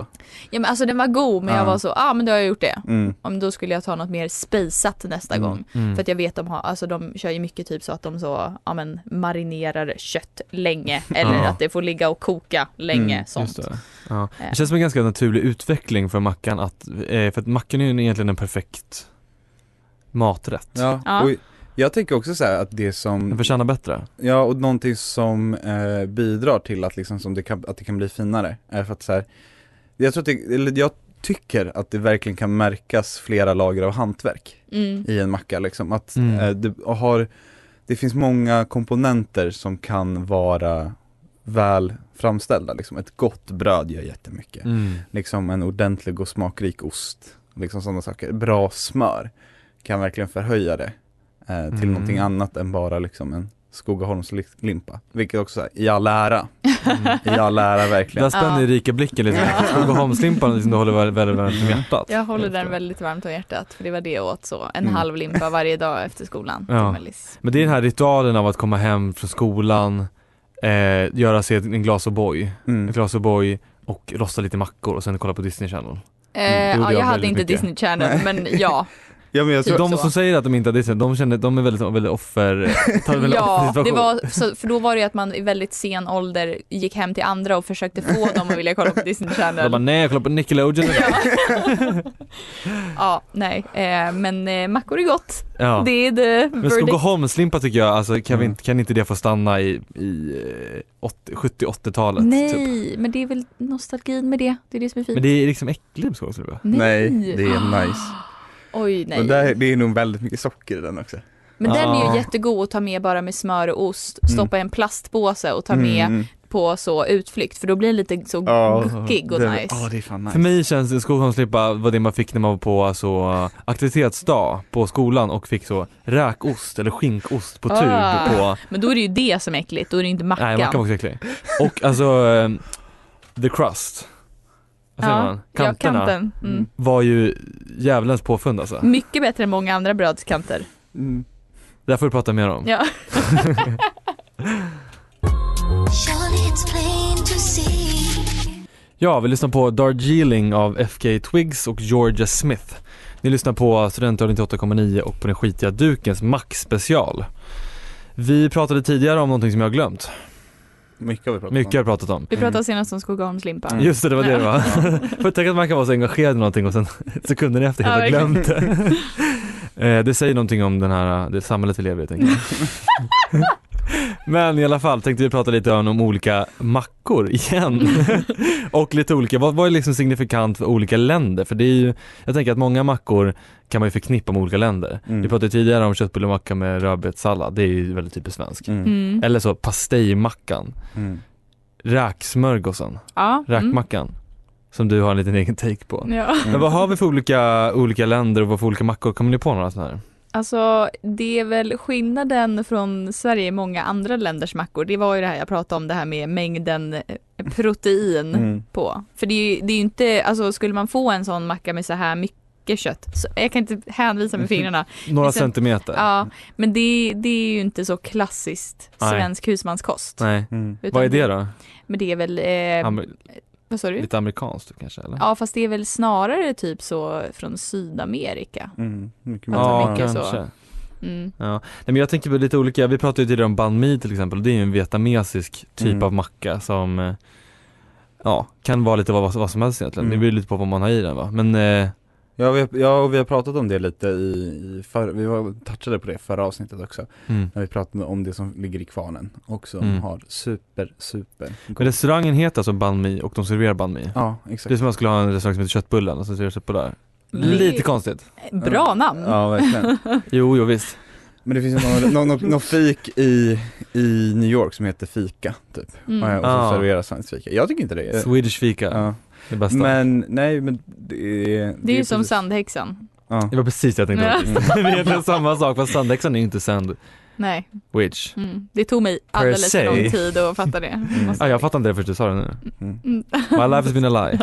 Speaker 3: Ja, men alltså den var god men jag
Speaker 2: Ja.
Speaker 3: var så, ja ah, men då har jag gjort det.
Speaker 2: Mm.
Speaker 3: Om då skulle jag ta något mer spejsat nästa
Speaker 2: Mm.
Speaker 3: gång.
Speaker 1: Mm.
Speaker 3: För att jag vet de har, alltså de kör ju mycket typ så att de så, ja men marinerar kött länge eller
Speaker 1: Ja.
Speaker 3: att det får ligga och koka länge
Speaker 2: Mm,
Speaker 3: sånt.
Speaker 1: Just det. Ja.
Speaker 3: Eh.
Speaker 1: det känns som en ganska naturlig utveckling för mackan att, eh, för att mackan är ju egentligen en perfekt maträtt.
Speaker 2: Ja.
Speaker 3: Ja.
Speaker 2: Och jag tänker också så här att det som
Speaker 1: Den förtjänar bättre.
Speaker 2: Ja, och någonting som eh, bidrar till att, liksom, som det kan, att det kan bli finare är för att så här, jag, tror att det, eller jag tycker att det verkligen kan märkas flera lager av hantverk
Speaker 3: Mm.
Speaker 2: i en macka. Liksom. Att,
Speaker 1: Mm.
Speaker 2: eh, det, och har, det finns många komponenter som kan vara väl framställda. Liksom. Ett gott bröd gör jättemycket.
Speaker 1: Mm.
Speaker 2: Liksom en ordentlig och smakrik ost. Liksom sådana saker. Bra smör kan verkligen förhöja det eh, till
Speaker 1: Mm.
Speaker 2: någonting annat än bara liksom en Skogaholmslimpa. Vilket också är i all ära,
Speaker 1: Mm.
Speaker 2: i all ära
Speaker 1: Där
Speaker 2: verkligen.
Speaker 1: spänner
Speaker 3: Ja.
Speaker 1: rika blicken lite.
Speaker 3: Ja.
Speaker 1: Skogaholmslimpan liksom, du håller väldigt väldigt varmt om hjärtat.
Speaker 3: Jag håller
Speaker 1: Just
Speaker 3: den
Speaker 1: det.
Speaker 3: väldigt varmt om hjärtat för det var det jag åt så, en
Speaker 2: Mm.
Speaker 3: halv limpa varje dag efter skolan.
Speaker 1: Ja.
Speaker 3: till Melis.
Speaker 1: Men det är den här ritualen av att komma hem från skolan, eh, göra sig en glas O'boy, en
Speaker 2: Mm.
Speaker 1: glas O'boy och rosta lite mackor och sen kolla på Disney Channel.
Speaker 3: Eh,
Speaker 1: gjorde
Speaker 3: ja,
Speaker 1: jag
Speaker 3: jag hade
Speaker 1: väldigt
Speaker 3: inte
Speaker 1: mycket.
Speaker 3: Disney Channel men ja.
Speaker 2: Ja men jag tror,
Speaker 3: Typ
Speaker 1: Alltså, De
Speaker 3: så.
Speaker 1: som säger att de inte har Disney, de känner, de är väldigt, väldigt offer, tar väldigt
Speaker 3: ja,
Speaker 1: offer
Speaker 3: det var, så, för då var det ju att man i väldigt sen ålder gick hem till andra och försökte få dem att vilja kolla på Disney
Speaker 1: De bara
Speaker 3: Channel.
Speaker 1: nej jag kollar på Nickelodeon.
Speaker 3: Ja. ja, nej, eh, men eh, mackor är gott.
Speaker 1: Ja.
Speaker 3: Det är the
Speaker 1: Men
Speaker 3: verdict.
Speaker 1: Skogaholmslimpa tycker jag, alltså, kan, vi
Speaker 2: Mm.
Speaker 1: inte, kan inte det få stanna i, i eh, 80 70-80-talet? Typ.
Speaker 3: Nej, men det är väl nostalgin med det. Det är det som är
Speaker 1: Men
Speaker 3: fint.
Speaker 1: det är liksom äckligt med Skogaholmslimpa.
Speaker 2: nej det är nice.
Speaker 3: Oj, nej.
Speaker 2: Och där, det är nog väldigt mycket socker i den också.
Speaker 3: Men den är
Speaker 1: Ja.
Speaker 3: ju jättegod att ta med bara med smör och ost, stoppa i en plastpåse och ta med
Speaker 2: Mm.
Speaker 3: på så utflykt för då blir den lite så
Speaker 2: Ja,
Speaker 3: guckig och
Speaker 2: det- ah,
Speaker 3: nice.
Speaker 2: Ja det är fan nice.
Speaker 1: För mig känns det- Skogaholmslimpa var det man fick när man var på alltså, aktivitetsdag på skolan och fick så räkost eller skinkost på tub
Speaker 3: Ah.
Speaker 1: på,
Speaker 3: Men då är det ju det som är äckligt, då är det inte mackan.
Speaker 1: nej mackan var också äcklig. Och alltså, eh, the crust. Vad säger man? Kanterna
Speaker 3: Ja, kanten. Mm.
Speaker 1: var ju djävulens påfund alltså.
Speaker 3: Mycket bättre än många andra brödskanter.
Speaker 2: Mm.
Speaker 1: Det här får vi prata mer om.
Speaker 3: Ja.
Speaker 4: Surely it's plain to see.
Speaker 1: Ja, vi lyssnar på Darjeeling av FK Twigs och Georgia Smith. Ni lyssnar på Studentradion 98,9 och på den skitiga dukens Max-special. Vi pratade tidigare om någonting som jag har glömt.
Speaker 2: Mycket har vi pratat
Speaker 1: Mycket har jag pratat om.
Speaker 3: Vi pratade senast om Skogaholmslimpa.
Speaker 2: Mm.
Speaker 1: Just det, det var det det var. För tänk att man kan vara så engagerad i någonting och sen sekunden efter helt
Speaker 3: Ja,
Speaker 1: har glömt det. Eh, det säger någonting om den här, det samhället vi lever i tänker jag. Men i alla fall tänkte vi prata lite om olika mackor igen. och lite olika, vad, vad är liksom signifikant för olika länder? För det är ju, jag tänker att många mackor kan man ju förknippa med olika länder.
Speaker 2: Mm.
Speaker 1: Vi pratade tidigare om köttbullemacka med rödbetssallad, det är ju väldigt typiskt svenskt.
Speaker 2: Mm.
Speaker 3: Mm.
Speaker 1: Eller så pastejmackan,
Speaker 2: Mm.
Speaker 1: räksmörgåsen,
Speaker 3: Ja. Mm.
Speaker 1: räkmackan. Som du har en liten egen take på.
Speaker 3: Ja.
Speaker 1: Men vad har vi för olika, olika länder och vad för olika mackor? Kommer ni på några sådana här?
Speaker 3: Alltså det är väl skillnaden från Sverige i många andra länders mackor. Det var ju det här jag pratade om, det här med mängden eh, protein
Speaker 2: Mm.
Speaker 3: på. För det är ju, det är ju inte, alltså skulle man få en sån macka med så här mycket kött, så, jag kan inte hänvisa med fingrarna.
Speaker 1: Några
Speaker 3: Liksom-
Speaker 1: centimeter?
Speaker 3: Ja, men det, det är ju inte så klassiskt
Speaker 1: Nej.
Speaker 3: svensk husmanskost.
Speaker 1: Nej.
Speaker 2: Mm.
Speaker 3: Utan
Speaker 1: Vad är det då?
Speaker 3: Men det är väl, eh,
Speaker 1: Amer-
Speaker 3: vad sa du?
Speaker 1: lite amerikanskt kanske eller?
Speaker 3: Ja fast det är väl snarare typ så från Sydamerika.
Speaker 2: Mm. Mycket
Speaker 3: Att
Speaker 2: mer.
Speaker 3: det
Speaker 1: Ja,
Speaker 3: är mycket
Speaker 1: kanske.
Speaker 3: så. Mm.
Speaker 1: Nej, men jag tänker på lite olika, vi pratade ju tidigare om banh mi till exempel, det är ju en vietnamesisk typ
Speaker 2: Mm.
Speaker 1: av macka som eh, Ja, kan vara lite vad, vad som helst egentligen,
Speaker 2: Mm.
Speaker 1: det beror lite på vad man har i den va, men eh,
Speaker 2: Ja, vi, har- ja, och vi har pratat om det lite i, i för, vi var, touchade på det i förra avsnittet också.
Speaker 1: mm.
Speaker 2: När vi pratade om det som ligger i kvarnen och som
Speaker 1: Mm.
Speaker 2: har super, super
Speaker 1: Men restaurangen heter alltså banh mi och de serverar banh mi
Speaker 2: Ja,
Speaker 1: Det är
Speaker 2: exakt.
Speaker 1: som om jag skulle ha en restaurang som heter Köttbullen och sen serverar köttbullar
Speaker 3: Men det-
Speaker 1: Lite konstigt,
Speaker 3: Bra namn!
Speaker 2: Ja, verkligen.
Speaker 1: jo jo visst
Speaker 2: Men det finns ju någon, någon, någon, någon fik i, i New York som heter fika, typ. Eh,
Speaker 3: Mm.
Speaker 2: Och som
Speaker 1: Ah.
Speaker 2: serverar svenskt fika. Jag tycker inte det är...
Speaker 1: Swedish fika,
Speaker 2: Eh, Ja.
Speaker 1: det bästa
Speaker 2: Men nej, men det är...
Speaker 3: Det är ju
Speaker 2: precis-
Speaker 3: som sandhäxan.
Speaker 2: Ja. Mm.
Speaker 1: Det var precis det jag tänkte
Speaker 3: Ja.
Speaker 1: faktiskt. Det är egentligen samma sak fast sandhäxan är ju inte
Speaker 3: Nej,
Speaker 1: sandwich
Speaker 3: mm. det tog mig alldeles för
Speaker 1: se.
Speaker 3: lång tid att fatta det.
Speaker 1: Ja, Ah, jag fattar inte det först du sa det nu
Speaker 2: Mm.
Speaker 3: Mm.
Speaker 1: My life has been a lie.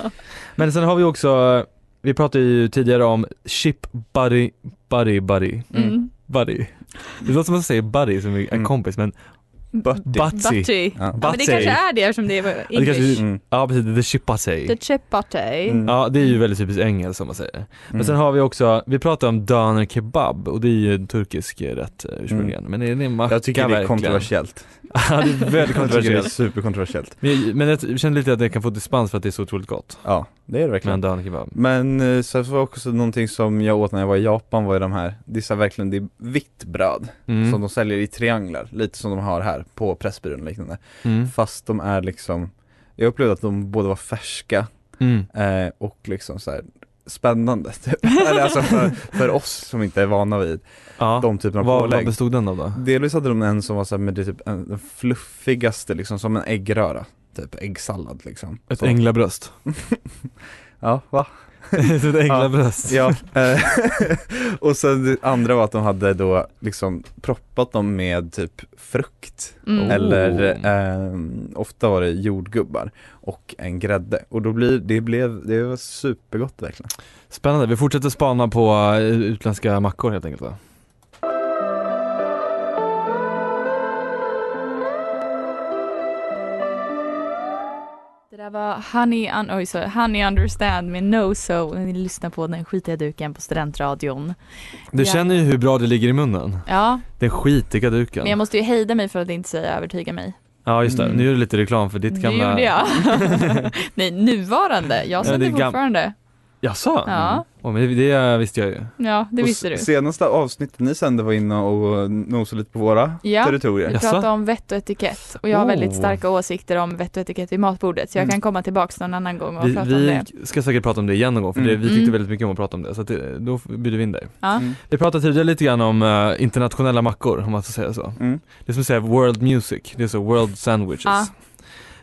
Speaker 1: Men sen har vi också, vi pratade ju tidigare om chip buddy, buddy, buddy,
Speaker 3: Mm.
Speaker 1: buddy. Det låter som att man säger buddy som är en
Speaker 2: Mm.
Speaker 1: kompis men
Speaker 2: Butty.
Speaker 1: butsy.
Speaker 3: Butty.
Speaker 2: Ja.
Speaker 3: Ja, men det
Speaker 1: Butty.
Speaker 3: kanske är det eftersom det är
Speaker 1: Ja, det kanske-
Speaker 3: English.
Speaker 2: Mm.
Speaker 1: Ja precis, the chipatay.
Speaker 3: The chipatay.
Speaker 2: Mm.
Speaker 1: Ja det är ju väldigt typiskt engelskt som man säger. Men
Speaker 2: Mm.
Speaker 1: sen har vi också, vi pratade om döner kebab och det är ju en turkisk rätt eh, ursprungligen. Men är det en macka
Speaker 2: Mm. Jag tycker det är
Speaker 1: verkligen?
Speaker 2: kontroversiellt.
Speaker 1: ja det är väldigt
Speaker 2: Jag tycker det är
Speaker 1: kontroversiellt.
Speaker 2: superkontroversiellt.
Speaker 1: Men, men jag känner lite att det kan få dispens för att det är så otroligt gott
Speaker 2: Ja, det är det
Speaker 1: med
Speaker 2: verkligen.
Speaker 1: en döner kebab.
Speaker 2: Men eh, sen var också någonting som jag åt när jag var i Japan var ju de här, det är så här verkligen, det är vitt bröd
Speaker 1: Mm.
Speaker 2: som de säljer i trianglar, lite som de har här på Pressbyrån och liknande.
Speaker 1: Mm.
Speaker 2: Fast de är liksom, jag upplevde att de både var färska
Speaker 1: Mm.
Speaker 2: eh, och liksom så här spännande typ. Eller alltså för, för oss som inte är vana vid
Speaker 1: Ja.
Speaker 2: de typerna av
Speaker 1: Vad, vad
Speaker 2: pålägg.
Speaker 1: bestod den av då?
Speaker 2: Delvis hade de en som var såhär, men det är typ en, den fluffigaste liksom, som en äggröra. Typ äggsallad liksom.
Speaker 1: Ett
Speaker 2: Så.
Speaker 1: änglabröst.
Speaker 2: Ja, va?
Speaker 1: Ett änglabröst.
Speaker 2: Ja, eh, och sen det andra var att de hade då liksom proppat dem med typ frukt
Speaker 3: Mm.
Speaker 2: eller eh, ofta var det jordgubbar och en grädde och då blir, det blev, det var supergott verkligen.
Speaker 1: Spännande, vi fortsätter spana på eh, utländska mackor helt enkelt va?
Speaker 3: Det där var Honey, un- oj, sorry, Honey Understand med No So. Ni lyssnar på den skitiga duken på studentradion.
Speaker 1: Du
Speaker 3: Ja.
Speaker 1: känner ju hur bra det ligger i munnen.
Speaker 3: Ja,
Speaker 1: Den skitiga duken.
Speaker 3: men jag måste ju hejda mig för att inte säga övertyga mig.
Speaker 1: Ja just det,
Speaker 2: Mm.
Speaker 1: nu gör du lite reklam för ditt
Speaker 3: Det
Speaker 1: gamla...
Speaker 3: gjorde jag. Nej, nuvarande. Jag
Speaker 1: Ja, det
Speaker 3: sänder
Speaker 1: är gam-
Speaker 3: fortfarande.
Speaker 1: Jaså? Mm.
Speaker 3: Ja,
Speaker 1: Åh, men det, det visste jag ju.
Speaker 3: ja, det
Speaker 2: Och
Speaker 3: visste du.
Speaker 2: s- Senaste avsnittet ni sände var inne och nosade lite på våra
Speaker 3: Ja.
Speaker 2: territorier.
Speaker 3: Vi
Speaker 1: Jaså?
Speaker 3: pratar om vett och etikett och jag har
Speaker 1: Oh.
Speaker 3: väldigt starka åsikter om vett och etikett vid matbordet så jag
Speaker 2: Mm.
Speaker 3: kan komma tillbaks någon annan gång och
Speaker 1: Vi,
Speaker 3: prata om
Speaker 1: vi
Speaker 3: det.
Speaker 1: ska säkert prata om det igen någon gång för det,
Speaker 2: Mm.
Speaker 1: vi tyckte
Speaker 3: Mm.
Speaker 1: väldigt mycket om att prata om det så att det, då bjuder vi in dig.
Speaker 3: Ja.
Speaker 2: Mm.
Speaker 1: Vi pratade tidigare lite grann om eh, internationella mackor om man ska säga så.
Speaker 2: Mm.
Speaker 1: Det är som att säga world music, det är så world sandwiches.
Speaker 3: Ja.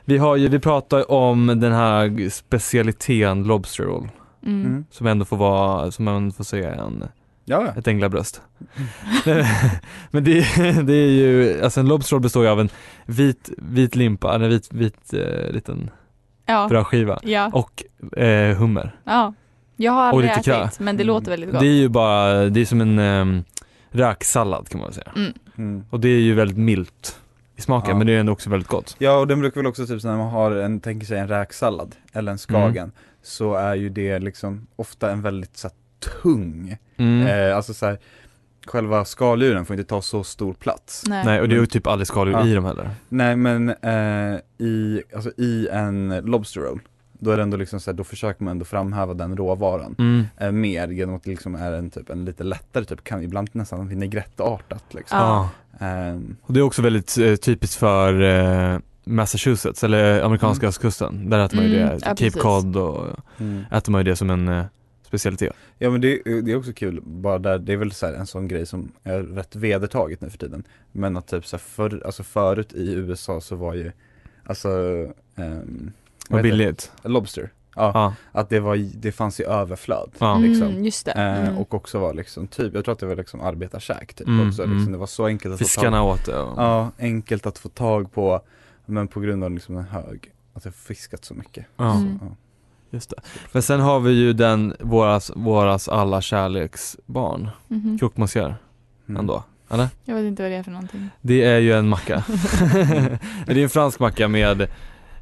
Speaker 1: Vi har ju, vi pratar om den här specialiteten lobster roll.
Speaker 3: Mm.
Speaker 2: Mm.
Speaker 1: Som ändå får vara, som man får säga en,
Speaker 2: Ja, ja.
Speaker 1: ett änglabröst. Men- Men det, är- det är ju, alltså en lobster roll består ju av en vit, vit limpa, eller en vit, vit eh, liten
Speaker 3: Ja.
Speaker 1: brödskiva
Speaker 3: Ja.
Speaker 1: och eh, hummer.
Speaker 3: ja, jag har
Speaker 1: Och
Speaker 3: aldrig
Speaker 1: lite
Speaker 3: ätit
Speaker 1: krä.
Speaker 3: men det
Speaker 2: Mm.
Speaker 3: låter väldigt gott.
Speaker 1: Det är ju bara, det är som en eh, räksallad kan man väl säga.
Speaker 2: Mm.
Speaker 1: Och det är ju väldigt milt i smaken
Speaker 2: Ja.
Speaker 1: men det är ändå också väldigt gott.
Speaker 2: Ja och den brukar väl också typ så när man har en, tänker sig en räksallad eller en skagen så är ju det liksom ofta en väldigt så här, tung,
Speaker 1: Mm.
Speaker 2: eh, alltså så här, själva skaldjuren får inte ta så stor plats.
Speaker 3: Nej.
Speaker 1: Nej och det är ju typ aldrig skaldjur
Speaker 2: Ja.
Speaker 1: i dem heller.
Speaker 2: Nej men eh, i, alltså, i en lobster roll då är det ändå liksom så här, då försöker man ändå framhäva den råvaran
Speaker 1: Mm.
Speaker 2: eh, mer genom att det liksom är en typ en lite lättare typ, kan ibland nästan vinägrettartat liksom.
Speaker 3: Ja.
Speaker 1: Ja.
Speaker 2: Ehm,
Speaker 1: Och det är också väldigt eh, typiskt för eh, Massachusetts eller eh, amerikanska
Speaker 2: Mm.
Speaker 1: östkusten. Där äter man ju
Speaker 3: Mm,
Speaker 1: det,
Speaker 3: ja,
Speaker 1: Cape
Speaker 3: precis.
Speaker 1: Cod och
Speaker 2: mm.
Speaker 1: äter man ju det som en eh, specialitet.
Speaker 2: Ja men det, det är också kul, bara där, det är väl så här en sån grej som är rätt vedertaget nu för tiden. Men att typ så här förr, alltså förut i USA så var ju, alltså, ehm,
Speaker 1: Och
Speaker 2: vad heter
Speaker 1: billigt.
Speaker 2: det? Lobster. Ja,
Speaker 1: Ja.
Speaker 2: att det var, det fanns ju överflöd.
Speaker 1: Ja.
Speaker 2: liksom.
Speaker 3: Mm, just det.
Speaker 2: Eh,
Speaker 3: Mm.
Speaker 2: och också var liksom typ, jag tror att det var liksom arbetarkäk typ
Speaker 1: Mm,
Speaker 2: också,
Speaker 1: mm.
Speaker 2: liksom, det var så enkelt att få tag
Speaker 1: Fiskarna åt det. och-
Speaker 2: Ja, enkelt att få tag på, men på grund av liksom en hög, att jag har fiskat så mycket.
Speaker 1: Ja.
Speaker 3: Mm.
Speaker 2: Ja.
Speaker 1: Just det. Men sen har vi ju den, våras, våras alla kärleksbarn,
Speaker 3: Mhm.
Speaker 1: croque
Speaker 2: Mm.
Speaker 1: ändå, eller?
Speaker 3: Jag vet inte vad det är för någonting.
Speaker 1: Det är ju en macka. det är en fransk macka med,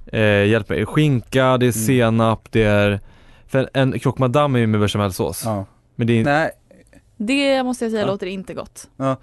Speaker 1: eh, hjälp mig, skinka, det är
Speaker 2: Mm.
Speaker 1: senap, det är, för en croque madame är ju med bechamelsås.
Speaker 2: Ja.
Speaker 1: Men det är inte,
Speaker 2: Nej,
Speaker 3: Det måste jag säga
Speaker 1: Ja.
Speaker 3: låter inte gott.
Speaker 1: eller?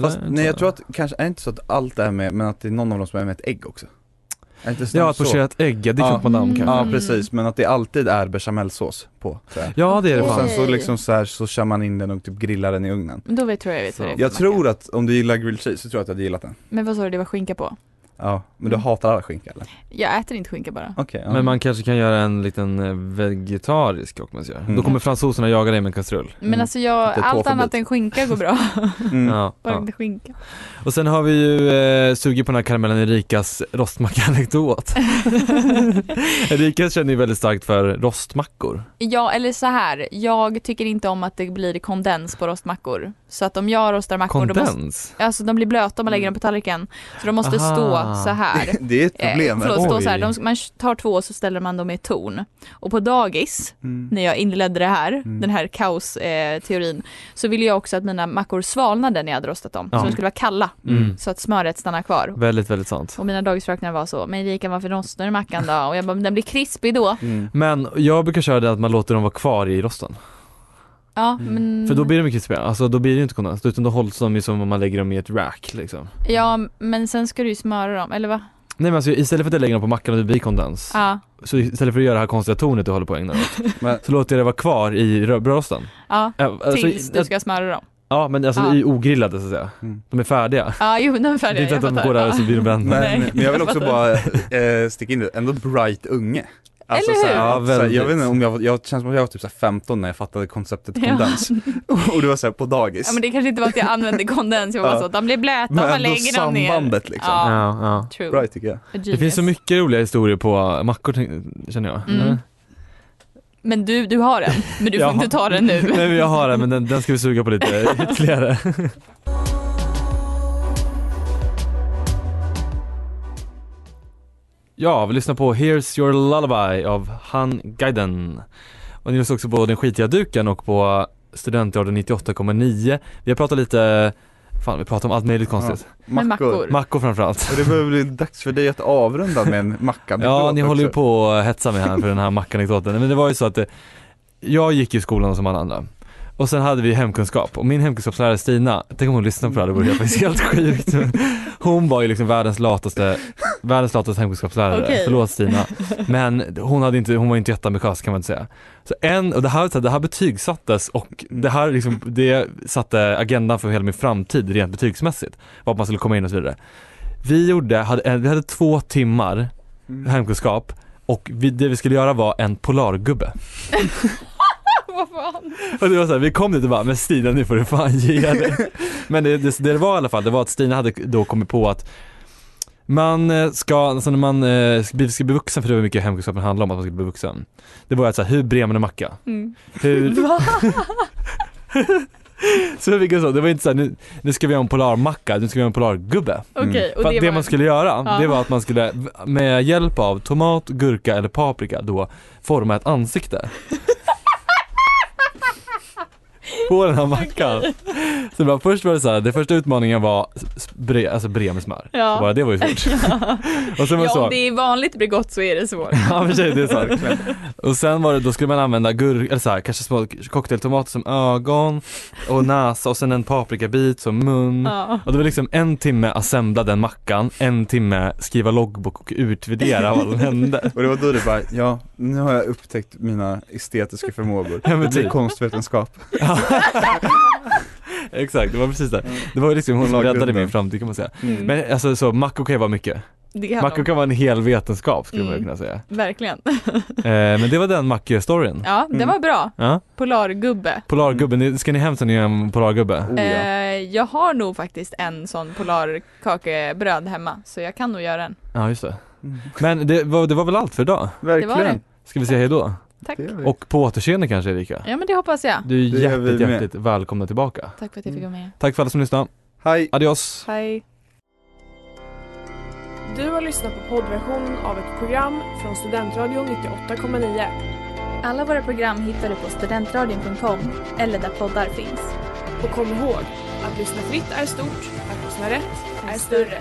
Speaker 2: fast, nej jag tror att, kanske är det inte så att allt det här med, men att det är någon av dem som är med ett ägg också. Är det inte snarare
Speaker 1: Ja, ett
Speaker 2: så?
Speaker 1: pocherat ägg, ja, det är
Speaker 2: Ja.
Speaker 1: croque madame
Speaker 3: Mm.
Speaker 1: kanske.
Speaker 2: Ja precis, men att det alltid är bechamelsås på. Så här.
Speaker 1: Ja det är det
Speaker 2: Och sen
Speaker 1: fan.
Speaker 2: så liksom så här, så kör man in den och typ grillar den i ugnen.
Speaker 3: Men Då vet tror jag vet vad det är för
Speaker 2: Jag
Speaker 3: macka.
Speaker 2: tror att om du gillar grilled cheese så tror jag att du hade gillat den.
Speaker 3: Men vad sa du, det var skinka på?
Speaker 2: Ja, men du
Speaker 3: Mm.
Speaker 2: hatar all skinka eller?
Speaker 3: Jag äter inte skinka bara.
Speaker 2: Okej, ja.
Speaker 1: Men man kanske kan göra en liten eh, vegetarisk croque monsieur.
Speaker 2: Mm.
Speaker 1: Då kommer fransoserna jaga dig med en kastrull.
Speaker 3: Men
Speaker 2: Mm.
Speaker 3: alltså jag,
Speaker 2: Det
Speaker 3: allt
Speaker 2: är tåförbud.
Speaker 3: annat än skinka går bra.
Speaker 2: Mm.
Speaker 1: Ja,
Speaker 3: Bara
Speaker 1: ja.
Speaker 3: inte skinka.
Speaker 1: Och sen har vi ju eh, sugit på den här karamellen Erikas rostmacka-anekdot. Erika känner ju väldigt starkt för rostmackor.
Speaker 3: Ja eller så här, jag tycker inte om att det blir kondens på rostmackor. Så att om jag rostar mackor, då måste,
Speaker 1: Kondens? Mm.
Speaker 3: alltså de blir blöta om man lägger dem på tallriken. Så de måste
Speaker 1: Aha.
Speaker 3: stå så här.
Speaker 2: Det är ett
Speaker 3: Eh,
Speaker 2: problem.
Speaker 3: Förlåt, stå
Speaker 1: Oj.
Speaker 3: så här. De, man tar två och så ställer man dem i ett torn. Och på dagis,
Speaker 2: Mm.
Speaker 3: när jag inledde det här,
Speaker 2: Mm.
Speaker 3: den här kaosteorin, eh, teorin, så ville jag också att mina mackor svalnade när jag hade rostat dem.
Speaker 1: Ja.
Speaker 3: Så de skulle vara kalla,
Speaker 1: Mm.
Speaker 3: så att smöret stannar kvar.
Speaker 1: Väldigt, väldigt sant.
Speaker 3: Och mina dagisfröknar var så, men Erika varför rostar du mackan då? Och jag bara, men den blir krispig då.
Speaker 2: Mm.
Speaker 1: Men jag brukar köra det att man låter dem vara kvar i rosten.
Speaker 3: Ja,
Speaker 2: Mm.
Speaker 3: men,
Speaker 1: För då blir de ju krispiga, alltså då blir det ju inte kondens. Utan då hålls de ju som om man lägger dem i ett rack liksom.
Speaker 3: ja, men sen ska du ju smöra dem, eller va?
Speaker 1: Nej men alltså istället för att jag lägger dem på mackan och det blir kondens.
Speaker 3: Ja,
Speaker 1: Så istället för att göra det här konstiga tornet du håller på att ägna dig åt.
Speaker 2: Men-
Speaker 1: Så låter jag det vara kvar i rö- brödrosten.
Speaker 3: ja.
Speaker 1: Äh, alltså,
Speaker 3: Tills du ska smöra dem.
Speaker 1: Ja men alltså
Speaker 3: Ja.
Speaker 1: i ogrillade så att säga.
Speaker 2: Mm.
Speaker 1: De är färdiga.
Speaker 3: Ja, jo, den är
Speaker 1: Det
Speaker 3: färdig.
Speaker 1: är inte
Speaker 3: jag
Speaker 1: att de
Speaker 3: fattar.
Speaker 1: går där och så blir de brända.
Speaker 2: Men,
Speaker 3: Nej,
Speaker 2: men jag vill också
Speaker 3: jag
Speaker 2: bara eh, sticka in det, ändå bright unge. Alltså
Speaker 3: Eller
Speaker 2: såhär,
Speaker 3: hur?
Speaker 1: Ja,
Speaker 2: såhär,
Speaker 1: väldigt.
Speaker 2: jag vet inte om jag var, jag känns som att jag var typ såhär 15 när jag fattade konceptet
Speaker 3: Ja.
Speaker 2: kondens. Och det var såhär på dagis.
Speaker 3: Ja, men det kanske inte var att jag använde kondens, jag var bara
Speaker 2: Ja.
Speaker 3: så, de blir blöta om
Speaker 2: Men
Speaker 3: man
Speaker 2: ändå
Speaker 3: lägger dem ner.
Speaker 2: sambandet, liksom.
Speaker 3: Ja,
Speaker 1: Ja, ja.
Speaker 3: true.
Speaker 2: Bright tycker jag.
Speaker 1: Det finns så mycket roliga historier på mackor tänk- känner jag.
Speaker 3: Mm.
Speaker 1: Eller?
Speaker 3: Men du, du har den, men du får
Speaker 1: Ja.
Speaker 3: inte ta den nu.
Speaker 1: Nej men jag har den men den, den ska vi suga på lite ytterligare. Ja, vi lyssnar på Here's Your Lullaby av Han Gaiden. Och ni lyssnar också på Den skitiga duken och på Studentradion 98,9. Vi har pratat lite, fan vi pratar om allt möjligt konstigt.
Speaker 3: Med mackor.
Speaker 1: Mackor framförallt.
Speaker 2: Och det börjar bli dags för dig att avrunda med en macka
Speaker 1: Ja, ni håller ju på att hetsa mig här för den här mackanekdoten. Men det var ju så att eh, jag gick i skolan som alla andra. Och sen hade vi hemkunskap och min hemkunskapslärare Stina, tänk om hon lyssnar på det här, det vore helt- faktiskt helt sjukt. Hon var ju liksom världens lataste, världens lataste hemkunskapslärare,
Speaker 3: Okej.
Speaker 1: förlåt Stina. Men hon, hade inte, hon var inte jätteambitiös kan man inte säga. Så en, och det här, så här, det här betygsattes och det här liksom, det satte agendan för hela min framtid rent betygsmässigt. Vad man skulle komma in och så vidare. Vi gjorde, hade, eh, vi hade två timmar hemkunskap och vi, det vi skulle göra var en polargubbe.
Speaker 3: Vad fan?
Speaker 1: Och det var så här, vi kom dit och bara, men Stina nu får du fan ge det. Men det, det, det var i alla fall, det var att Stina hade då kommit på att man eh, ska, alltså när man eh, ska bli, ska bli vuxen, för det var mycket hemkunskapen handlade om, att man skulle bli vuxen. Det var ju att så här, hur brer man en macka?
Speaker 3: Mm.
Speaker 1: Hur...
Speaker 3: Va?
Speaker 1: så vi fick en sån, det var inte så här, nu, nu ska vi göra en polarmacka, nu ska vi göra en polargubbe.
Speaker 3: Okej, och
Speaker 1: För att
Speaker 3: det,
Speaker 1: det,
Speaker 3: var...
Speaker 1: man skulle göra,
Speaker 3: Ja.
Speaker 1: det var att man skulle med hjälp av tomat, gurka eller paprika då forma ett ansikte. på den här mackan. Så det var, först var det så här, det första utmaningen var s- bre, alltså bremsmör.
Speaker 3: Ja.
Speaker 1: Bara det var ju svårt. Och sen var det
Speaker 3: Ja,
Speaker 1: så.
Speaker 3: om det är vanligt Bregott så är det svårt.
Speaker 1: Ja för sig, det är så. här. Och sen var det, då skulle man använda gurka, eller så här, kanske små cocktailtomater som ögon och näsa och sen en paprikabit som mun.
Speaker 3: Ja.
Speaker 1: Och det var liksom en timme assembla den mackan, en timme skriva loggbok och utvärdera vad som hände.
Speaker 2: Och det var då det bara, ja, nu har jag upptäckt mina estetiska förmågor.
Speaker 1: Ja, men
Speaker 2: Det blir
Speaker 1: typ.
Speaker 2: konstvetenskap.
Speaker 1: Ja. Exakt, det var precis det. Det var ju liksom hon som
Speaker 2: Hon la
Speaker 1: räddade
Speaker 2: grunden.
Speaker 1: min framtid kan man säga.
Speaker 2: Oh,
Speaker 3: Mm.
Speaker 1: Men alltså så, mackokej var mycket.
Speaker 3: det kan de.
Speaker 1: Mackokej var en hel vetenskap skulle man
Speaker 3: Mm.
Speaker 1: kunna säga.
Speaker 3: Verkligen.
Speaker 1: Eh, men det var den macke-storyn.
Speaker 3: Ja, den var bra.
Speaker 1: Ja.
Speaker 3: Polargubbe.
Speaker 1: Polargubben, det- ska ni hem sen ni gör en polargubbe?
Speaker 2: Oh, ja.
Speaker 3: Eh, jag har nog faktiskt en sån polarkakebröd hemma, så jag kan nog göra en.
Speaker 1: Ja just det. Mm. Men det var, det var väl allt för idag?
Speaker 2: Verkligen.
Speaker 3: det var det.
Speaker 1: Ska vi säga hejdå?
Speaker 3: Tack.
Speaker 2: Det gör vi.
Speaker 1: Och på återseende kanske Erika?
Speaker 3: Ja men det hoppas jag.
Speaker 1: Du är
Speaker 2: Det gör vi
Speaker 1: hjärtligt,
Speaker 2: med.
Speaker 1: hjärtligt välkomna tillbaka.
Speaker 3: Tack för att jag fick vara med.
Speaker 1: Tack för alla som lyssnade.
Speaker 2: Hej.
Speaker 1: Adios!
Speaker 3: Hej.
Speaker 5: Du har lyssnat på poddversionen av ett program från Studentradion 98,9.
Speaker 6: Alla våra program hittar du på studentradion.com eller där poddar finns.
Speaker 5: Och kom ihåg, att lyssna fritt är stort, att lyssna rätt är större.